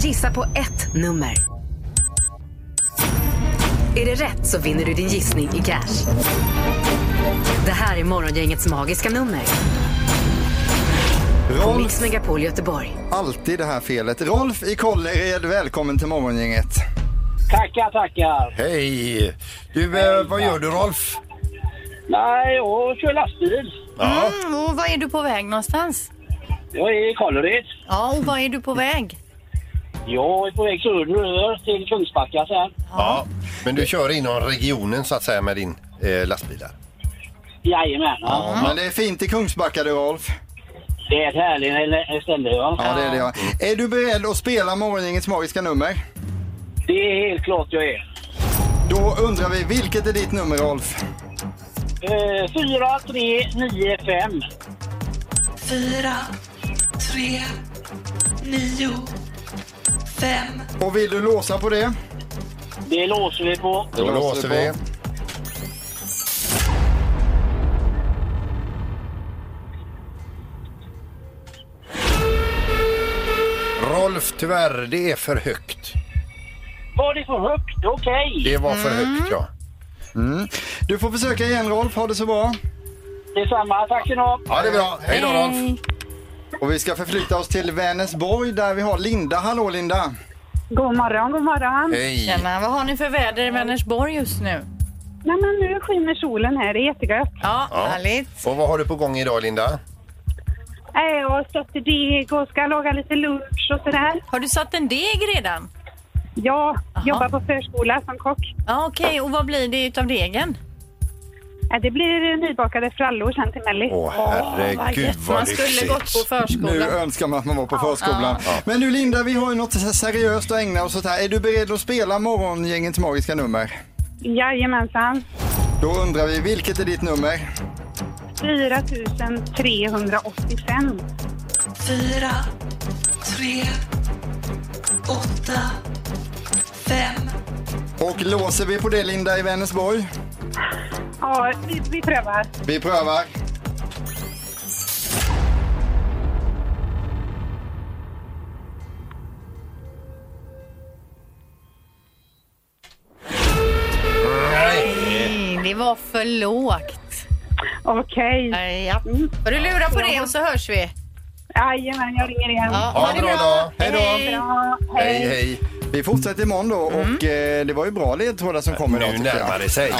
S4: Gissa på ett nummer. Är det rätt så vinner du din gissning i cash. Det här är Morgongängets magiska nummer. På Mix
S5: Rolf,
S4: Megapol Göteborg.
S5: alltid det här felet. Rolf i Kållered, välkommen till morgongänget.
S11: Tackar, tackar.
S7: Hej! Du, eh, vad gör du Rolf?
S11: Nej, jag kör lastbil.
S7: Ja.
S6: Mm, och var är du på väg någonstans?
S11: Jag är i Kållered.
S6: Ja, och var är du på väg?
S11: Jag är på väg söderöver till Kungsbacka sen.
S7: ja. Men du kör inom regionen så att säga med din eh, lastbil där?
S11: Jajamän.
S5: Ja, Men det är fint i Kungsbacka du Rolf.
S11: Det är ett härligt ställe. Va?
S5: Ja, det är det. Ja. Är du beredd att spela morgongängets magiska nummer?
S11: Det är helt klart jag är.
S5: Då undrar vi, vilket är ditt nummer Rolf?
S11: Eh, 4, 3, 9, 5.
S12: Fyra, tre, nio, fem.
S5: Och vill du låsa på det?
S11: Det låser vi på.
S7: Då låser vi. Rolf, tyvärr, det är för högt.
S11: Var det för högt? Okej.
S7: Det var för högt, ja.
S5: Mm. Du får försöka igen Rolf, ha det så bra.
S11: Detsamma. Tack ska ni ha.
S7: Ja, det är bra. Hej då, Rolf.
S5: Och vi ska förflytta oss till Vänersborg där vi har Linda. Hallå Linda!
S13: God morgon, god morgon.
S7: Hej!
S6: Tjena, vad har ni för väder i Vänersborg just nu?
S13: Nej, men nu skiner solen här, det är jättegött.
S6: Ja,
S7: Ja.
S6: härligt.
S7: Och vad har du på gång idag, Linda?
S13: Eh, Jag har stött i deg och ska laga lite lunch och sådär.
S6: Har du satt en deg redan?
S13: Jag jobbar på förskola som kock.
S6: Ja, okej. Och vad blir det utav degen?
S13: Eh, Det blir nybakade frallor sen till Melly.
S7: Åh, herregud vad
S6: Man skulle
S7: lyxigt.
S6: gått på
S5: Nu
S6: förskolan.
S5: önskar man att man var på förskolan. Men du Linda, vi har ju något seriöst att ägna oss åt här. Är du beredd att spela morgongängets magiska nummer?
S13: Jajamensan.
S5: Då undrar vi, vilket är ditt nummer?
S13: 4 385.
S12: Fyra, tre, åtta, fem.
S5: Och låser vi på det Linda i Vänersborg?
S13: Ja, vi, vi prövar.
S5: Vi prövar.
S6: Nej, det var för lågt.
S13: Okej.
S6: Nej, Ja. Får du lura på det och så hörs vi.
S13: Jajamän, jag ringer igen.
S6: Ja,
S7: Ha en bra dag.
S5: Hej då!
S13: Bra,
S7: Hej, hej.
S5: Vi fortsätter imorgon då och eh, det var ju bra ledtrådar som kom idag
S7: Nu
S5: tycker jag.
S7: närmar det sig.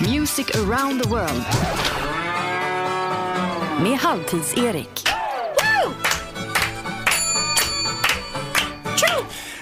S4: Music around the world. Med Halvtids-Erik.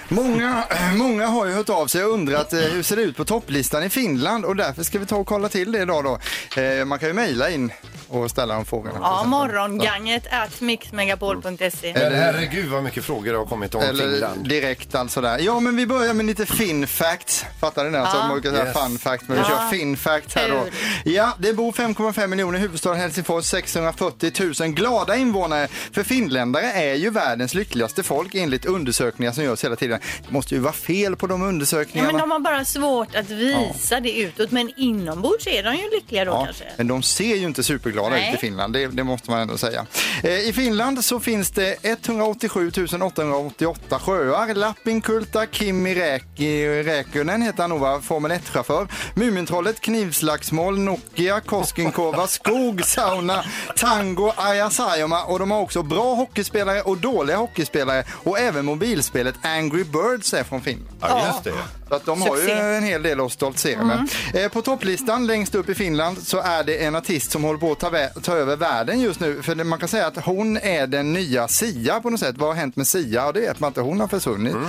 S5: Många, *clears throat* många har ju hört av sig och undrat eh, hur ser det ut på topplistan i Finland och därför ska vi ta och kolla till det idag då. Eh, man kan ju mejla in och ställa de frågorna.
S6: Ja, morgonganget at
S5: Eh,
S6: mixmegapol.se.
S7: Men herregud vad mycket frågor det har kommit om
S5: Eller
S7: Finland.
S5: direkt alltså där. Ja men vi börjar med lite fin facts. Fattar ni det? Alltså,
S6: Ja.
S5: man brukar säga
S7: Yes.
S5: fun fact men vi
S6: Ja.
S5: kör fin facts här då.
S6: Kul.
S5: Ja, det bor 5,5 miljoner i huvudstaden Helsingfors, 640 000 glada invånare. För finländare är ju världens lyckligaste folk enligt undersökningar som görs hela tiden. Det måste ju vara fel på de
S6: Ja,
S5: undersökningarna.
S6: men de har bara svårt att visa det utåt, men inombords är de ju lyckliga då
S5: Ja,
S6: kanske.
S5: men de ser ju inte superglada
S6: Nej.
S5: ut i Finland, det, det måste man ändå säga. Eh, I Finland så finns det 187 888 sjöar. Lappinkulta, Kimi Räki- Räikkönen heter han nog va, Formel 1-chaufför. Mumintrollet, Knivslagsmål, Nokia, Koskenkorva, Skog, Sauna, Tango, Ayasayoma och de har också bra hockeyspelare och dåliga hockeyspelare och även mobilspelet Angry Birds är från Finland.
S7: Ja, just det.
S5: Så att de har ju
S6: Succé.
S5: en hel del att stoltsera med. Eh, på topplistan längst upp i Finland så är det en artist som håller på att ta, vä- ta över världen just nu. För det- man kan säga att hon är den nya Sia på något sätt. Vad har hänt med Sia? Ja, det vet man inte. Hon har försvunnit. Eh,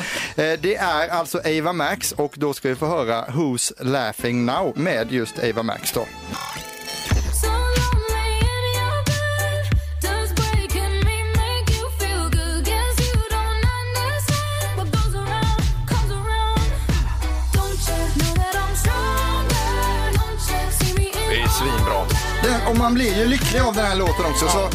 S5: det är alltså Ava Max och då ska vi få höra Who's Laughing Now med just Ava Max då.
S7: Det är svinbra.
S5: Den, och man blir ju lycklig av den här låten också, så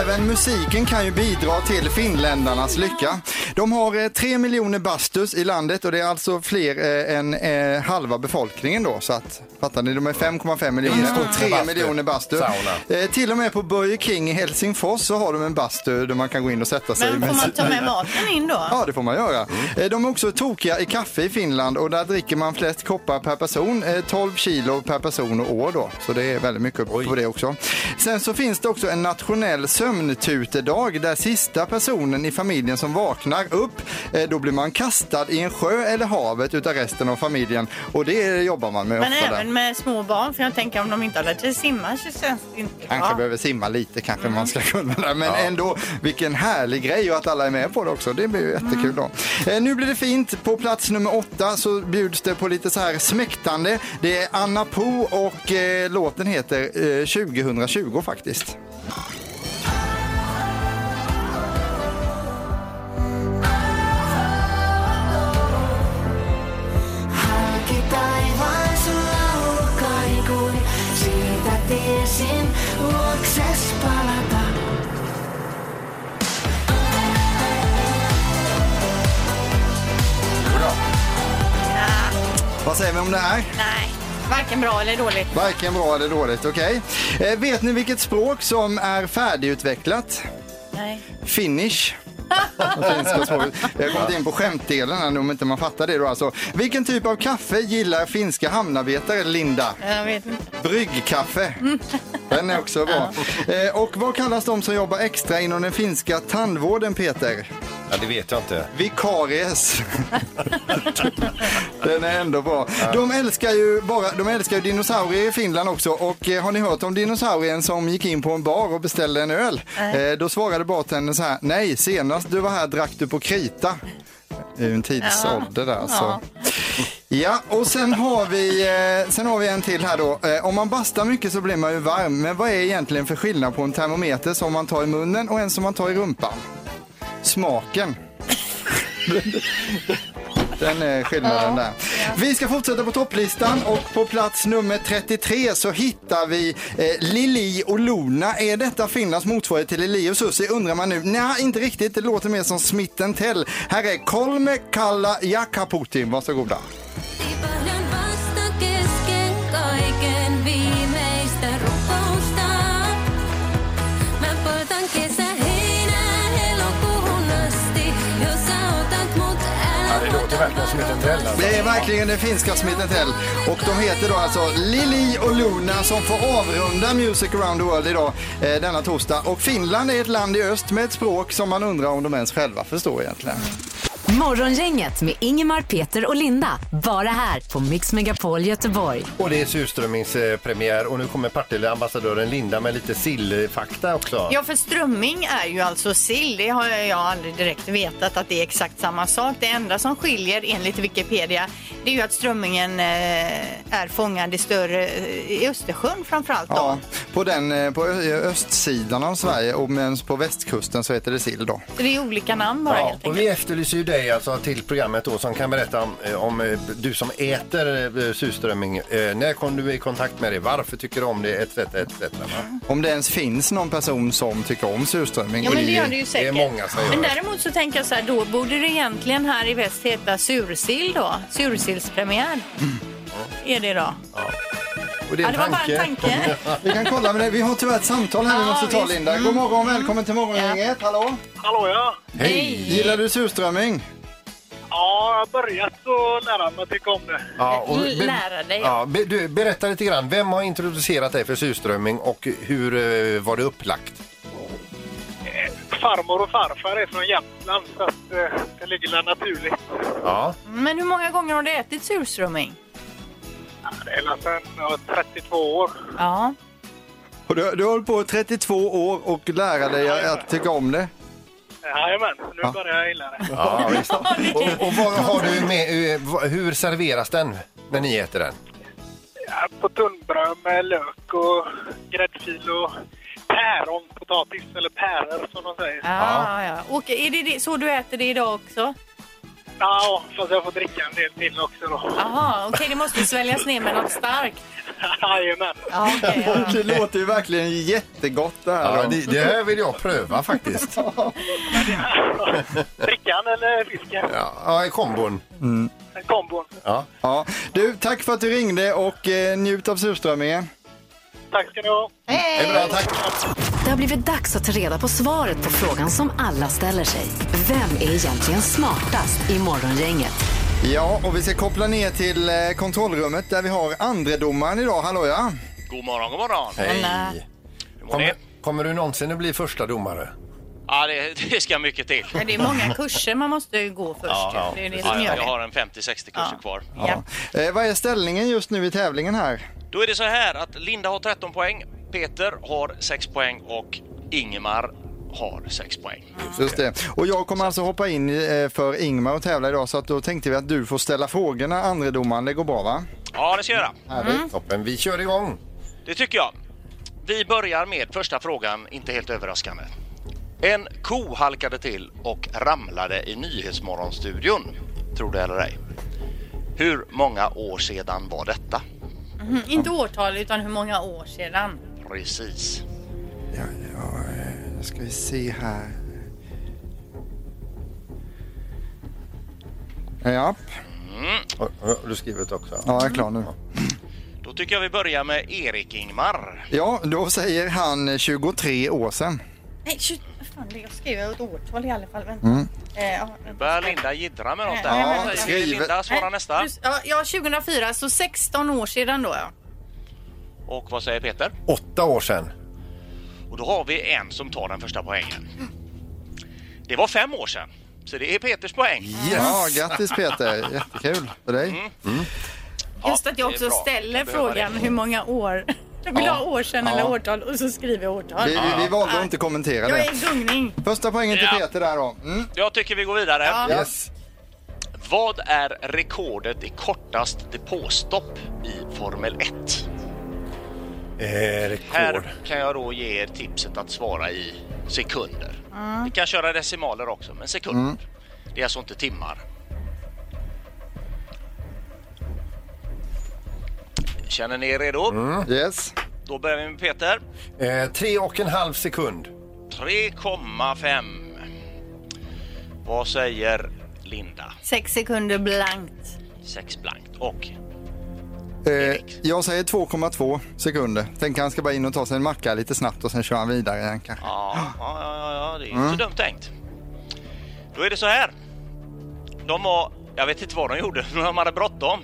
S5: även musiken kan ju bidra till finländarnas lycka. De har eh, 3 miljoner bastus i landet och det är alltså fler eh, än eh, halva befolkningen då. Så att, fattar ni, de är 5,5 miljoner
S7: Mm.
S5: och 3
S7: Bastu.
S5: miljoner bastu.
S7: Sauna.
S5: Eh, till och med på Burger King i Helsingfors så har de en bastu där man kan gå in och sätta sig.
S6: Men får man ta med
S5: mat?
S6: maten in då?
S5: Ja, det får man göra. Eh, De är också tokiga i kaffe i Finland och där dricker man flest koppar per person, eh, 12 kilo per person och år då. Så det är väldigt mycket på det också. Sen så finns det också en nationell sömntutedag där sista personen i familjen som vaknar upp, eh, då blir man kastad i en sjö eller havet utav resten av familjen och det jobbar man med
S6: Men
S5: ofta
S6: även
S5: där.
S6: med små barn, för jag tänker om de inte har lärt sig simma så känns det inte
S5: Kanske
S6: bra.
S5: behöver simma lite kanske man ska kunna det. Men ändå, vilken härlig grej och att alla är med på det också. Det blir ju jättekul då. Eh, nu blir det fint. På plats nummer åtta så bjuds det på lite så här smäktande. Det är Anna Po och eh, låten heter eh, 2020 faktiskt.
S12: Halki taivaan sulla uhkai kuin siitä tiesin luokses palata.
S5: Vad säger vi om det här?
S6: Nej, varken bra eller dåligt.
S5: Varken bra eller dåligt, okej? Eh, vet ni vilket språk som är färdigutvecklat?
S6: Nej.
S5: Finish. Det finns på språket. Jag har kommit in på skämtdelen här nu om inte man fattar det då alltså. Vilken typ av kaffe gillar finska hamnarbetare, Linda?
S6: Jag vet inte.
S5: Bryggkaffe. Den är också bra. Eh, och vad kallas de som jobbar extra inom den finska tandvården, Peter?
S7: Ja, det vet jag inte.
S5: Vikaries. Den är ändå bra. De älskar ju, bara, de älskar ju dinosaurier i Finland också. Och eh, har ni hört om dinosaurien som gick in på en bar och beställde en öl?
S6: Nej.
S5: Eh, då svarade bartendern så här. Nej, senast du var här drack du på krita. Det är ju en tidsålder där alltså. Ja, och sen har, vi, eh, sen har vi en till här då. Eh, om man bastar mycket så blir man ju varm. Men vad är egentligen för skillnad på en termometer som man tar i munnen och en som man tar i rumpan? Smaken. Den är skillnaden där. Vi ska fortsätta på topplistan och på plats nummer 33 så hittar vi eh, Lili och Luna. Är detta Finlands motsvarighet till Lili och Susi undrar man nu. Nej, inte riktigt. Det låter mer som Smith Tell. Här är Kolme Kalla Jakaputin. Varsågoda.
S12: Tipahdan vasta kesken kaiken viimeistä rukousta. Mä poltan kesä heinään elokuuhun asti, jos sä otat mut älä
S7: Det låter verkligen som ett träll. alltså.
S5: Det är verkligen den finska Smith Tell. Och de heter då alltså Lili och Luna som får avrunda Music around the world idag eh, denna torsdag. Och Finland är ett land i öst med ett språk som man undrar om de ens själva förstår egentligen.
S4: Morgongänget med Ingemar, Peter och Linda. Bara här på Mix Megapol Göteborg.
S7: Och det är surströmmingspremiär och nu kommer Partille-ambassadören Linda med lite sillfakta också.
S6: Ja, för strömming är ju alltså sill. Det har jag aldrig direkt vetat att det är exakt samma sak. Det enda som skiljer enligt Wikipedia det är ju att strömmingen eh, är fångad i större eh, i Östersjön framförallt. Då.
S5: Ja, på, den, eh, på ö- östsidan av Sverige och medan på västkusten så heter det sill då.
S6: Så det är olika namn bara.
S7: Ja,
S6: helt
S7: och vi efterlyser ju dig alltså till programmet då som kan berätta om, eh, om eh, du som äter eh, surströmming. Eh, när kom du i kontakt med det? Varför tycker du om det? Etc, etc, va?
S5: Om det ens finns någon person som tycker om surströmming.
S6: Ja, men det gör det ju säkert.
S7: Det är många som gör
S6: men
S7: det.
S6: däremot så tänker jag så här, då borde det egentligen här i väst heta sursill då. Sursillspremiär.
S7: Mm.
S6: Är det då?
S7: Och
S6: Ja, det var bara en
S7: *laughs*
S6: tanke.
S5: Vi kan kolla med det. Vi har tyvärr ett samtal här vi
S6: Ja,
S5: måste ta
S6: visst. Mm.
S5: Linda. God morgon, välkommen till morgongänget. Hallå!
S8: Hallå ja!
S7: Hej!
S5: Gillar du surströmming?
S8: Ja, jag har börjat att lära mig att tycka om det.
S7: Ja, och be-
S6: Lära dig.
S7: Ja, be, du, berätta lite grann. Vem har introducerat dig för surströmming och hur eh, var det upplagt?
S8: Farmor och farfar är från Jämtland så att, eh, det ligger väl naturligt.
S7: Ja.
S6: Mm, Men hur många gånger har du ätit surströmming?
S8: Det är alltså väl sedan jag var 32 år.
S6: Ja.
S5: Och Du, du har hållit på i 32 år och lära dig att, att tycka om det.
S8: Eh, Jajamän, så nu
S5: Ja.
S8: börjar jag gilla det.
S7: Ja, visst. Och, och vad har du med, eh, vad- hur serveras den när ni äter den?
S8: Ja, På tunnbröd med lök och gräddfil och päronpotatis, eller päror som de säger.
S6: Ah, ja. Och är det det- så du äter det idag också?
S8: Ja, fast jag får dricka en del till också då. *laughs*
S6: Jaha, okej det måste sväljas ner med något starkt.
S8: Jajamän.
S5: Det låter ju verkligen jättegott det här.
S7: Ja,
S5: då.
S7: det, det här vill jag pröva *laughs* faktiskt.
S8: Drickan eller fisken?
S7: Ja, i kombon.
S8: Kombon.
S7: Ja.
S5: Ja. Du, tack för att du ringde och eh, njut av surströmmingen.
S8: Tack ska ni ha.
S4: Hej!
S7: bra, tack.
S4: Det har blivit dags att ta reda på svaret på frågan som alla ställer sig. Vem är egentligen smartast i Morgongänget?
S5: Ja, och vi ska koppla ner till eh, kontrollrummet där vi har andredomaren idag. Hallå ja!
S14: God morgon, god morgon.
S7: Hej. Kommer, kommer du någonsin att bli första domare?
S14: Ja, det, det ska mycket till.
S6: Men det är många kurser man måste ju gå först.
S14: Ja,
S6: ju. Det är det som gör
S14: jag
S6: det.
S14: har en 50-60 kurser kvar.
S5: Eh, vad är ställningen just nu i tävlingen här?
S14: Då är det så här att Linda har 13 poäng, Peter har 6 poäng och Ingemar har 6 poäng.
S5: Just det. Och jag kommer alltså hoppa in eh, för Ingmar och tävla idag så att då tänkte vi att du får ställa frågorna andredomaren. Det går bra va?
S14: Ja, det ska jag göra.
S7: Mm. Toppen, vi kör igång.
S14: Det tycker jag. Vi börjar med första frågan, inte helt överraskande. En ko halkade till och ramlade i Nyhetsmorgonstudion. Tror det eller ej. Hur många år sedan var detta?
S6: Mhm, Inte årtal utan hur många år sedan.
S14: Precis.
S5: Ska vi se här. Ja,
S7: Har- Har du skrivit också?
S5: ja jag är klar nu.
S14: Då tycker jag vi börjar med Erik Ingmar.
S5: Ja, då säger han 23 år sedan.
S6: Nej, tjut, fan, det- jag skrev ett årtal i alla fall. Vänta.
S5: Mm.
S6: Eh, ja,
S14: Nu börjar Linda jiddra med något där.
S6: Ja,
S14: Vad säger
S5: skriv.
S14: Linda, svara
S6: Nej,
S14: nästa.
S6: just- ja, Ja, 2004, så 16 år sedan då. Ja.
S14: Och vad säger Peter?
S7: Åtta år sedan.
S14: Och då har vi en som tar den första poängen. Det var fem år sedan. Så det är Peters poäng.
S5: Ja, grattis Peter, jättekul för dig.
S6: Just att jag
S14: det är
S6: också
S14: bra.
S6: ställer
S14: Jag behöver
S6: frågan
S14: det.
S6: hur många år. Jag vill
S5: Ja.
S6: ha år sedan
S5: Ja.
S6: eller årtal och så skriver jag årtal.
S5: Vi, vi, vi valde att
S6: Ja.
S5: inte kommentera
S6: Jag
S5: det.
S6: är i gungning.
S5: Första poängen till
S14: Ja.
S5: Peter där då. Mm.
S14: Jag tycker vi går vidare.
S6: Ja.
S7: Yes.
S14: Vad är rekordet i kortast depåstopp i Formel 1?
S7: Eh,
S14: Här
S7: rekord.
S14: kan jag då ge er tipset att svara i sekunder. Ni kan köra decimaler också, men sekunder. Det är alltså inte timmar. Känner ni er redo?
S5: Mm. Yes.
S14: Då börjar vi med Peter.
S7: Eh, tre och en halv sekund.
S14: 3,5. Vad säger Linda?
S6: Sex sekunder blankt.
S14: 6 blankt. Och
S5: Eh, jag säger 2,2 sekunder. Tänker han ska bara in och ta sig en macka lite snabbt och sen kör han vidare igen kanske.
S14: Ja, ja, ja, ja det är ju
S7: Mm.
S14: inte dumt tänkt. Då är det så här. De var, jag vet inte vad de gjorde, *laughs* men de hade bråttom.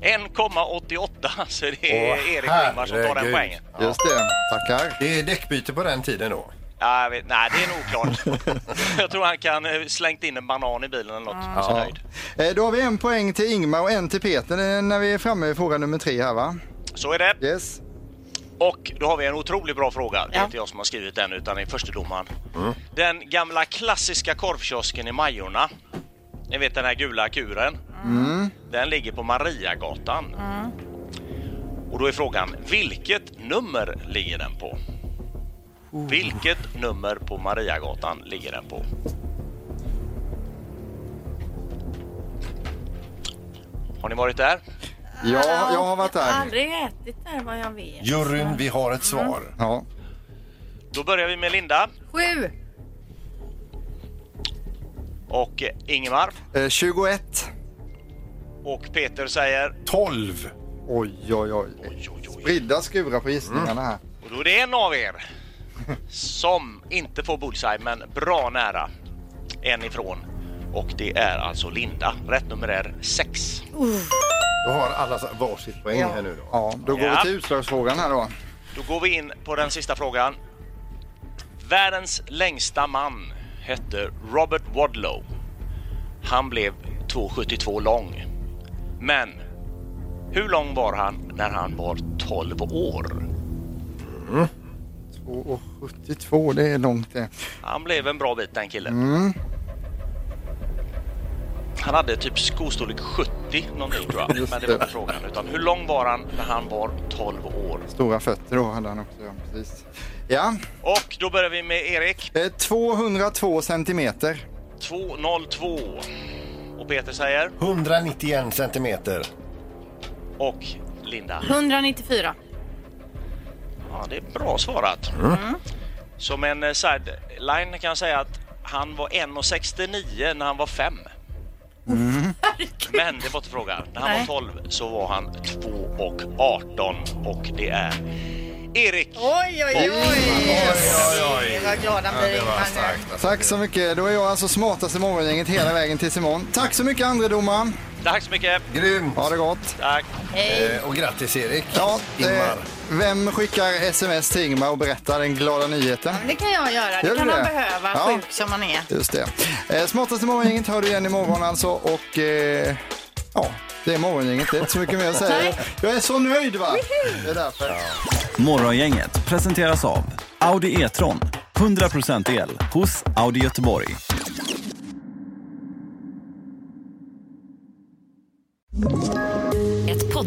S14: 1,88 så det är
S7: Åh,
S14: Erik Ingvar som tar den
S7: herregud.
S14: poängen.
S5: Just det, tackar.
S7: Det är däckbyte på den tiden då.
S14: Ja, jag vet, nej, det är nog
S7: *laughs*
S14: oklart. jag tror han kan eh, slängt in en banan i bilen eller något. Så
S5: Ja.
S14: nöjd.
S5: Eh, då har vi en poäng till Ingmar och en till Peter eh, när vi är framme vid fråga nummer tre här va?
S14: Så är det.
S5: Yes.
S14: Och då har vi en otroligt bra fråga. Det är
S6: Ja.
S14: inte jag som har skrivit den utan det är förstedomaren. Den gamla klassiska korvkiosken i Majorna. Ni vet den här gula kuren. Den ligger på Mariagatan. Och då är frågan, vilket nummer ligger den på? Vilket nummer på Mariagatan ligger den på? Har ni varit där?
S5: Ja, jag har varit
S6: Jag har
S5: där.
S6: aldrig ätit där vad jag vet.
S7: Juryn, vi har ett svar.
S5: Ja.
S14: Då börjar vi med Linda
S6: Sju.
S14: och eh, Ingemar.
S5: Eh, 21.
S14: Och Peter säger
S7: 12.
S5: Oj, oj, oj.
S14: Oj, Mm. oj, oj.
S5: Spridda skurar på gissningarna här.
S14: Och då är det en av er som inte får bullseye men bra nära en ifrån. Och det är alltså Linda. Rätt nummer är 6.
S7: Då har alla så- varsitt poäng här nu då.
S5: Ja, då går
S14: Ja.
S5: vi till utslagsfrågan här då.
S14: Då går vi in på den sista frågan. Världens längsta man hette Robert Wadlow. Han blev 2,72 lång. Men hur lång var han när han var 12 år?
S5: 2,72, det är långt det.
S14: Han blev en bra bit den killen. Han hade typ skostorlek 70 någonting tror jag. Men det var inte frågan. Utan hur lång var han när han var 12 år?
S5: Stora fötter då hade han också, ja, precis. Ja,
S14: Och då börjar vi med Erik.
S5: eh, 202 centimeter.
S14: 202. Och Peter säger
S7: 191 centimeter.
S14: och Linda.
S6: 194.
S14: Ja, det är bra svarat.
S6: Mm.
S14: Som en eh, sideline kan jag säga att han var 1,69 när han var 5. *laughs* Men det var inte frågan. När han
S6: Mm. Nej.
S14: var 12 så var han 2 och 18 och det är Erik.
S6: Oj, oj, oj!
S14: oj, oj.
S6: Vad glad han blir.
S5: Tack så mycket. Då är jag alltså smartast i morgongänget hela vägen tills imorgon. Tack så mycket andre domaren.
S14: Tack så mycket.
S7: Grymt.
S5: Ha det gott.
S14: Tack.
S7: Eh, och grattis Erik.
S5: Ja,
S7: Ingmar.
S5: eh, vem skickar sms till Ingmar och berättar den glada nyheten?
S6: Det kan jag göra. Det
S5: Gör du
S6: kan han
S5: det?
S6: behöva,
S5: Ja.
S6: sjuk som han är.
S5: Just det. Eh, smartast i morgongänget hör du igen imorgon alltså och eh, ja, det är morgongänget. Det är inte så mycket mer att säga.
S6: Nej.
S5: Jag är så nöjd va? Det är därför.
S15: Morgongänget presenteras av Audi E-tron. 100% el hos Audi Göteborg.
S16: Ett